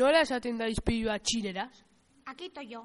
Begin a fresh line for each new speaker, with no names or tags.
Nola esaten da ispilua txineraz?
Aquí estoy yo.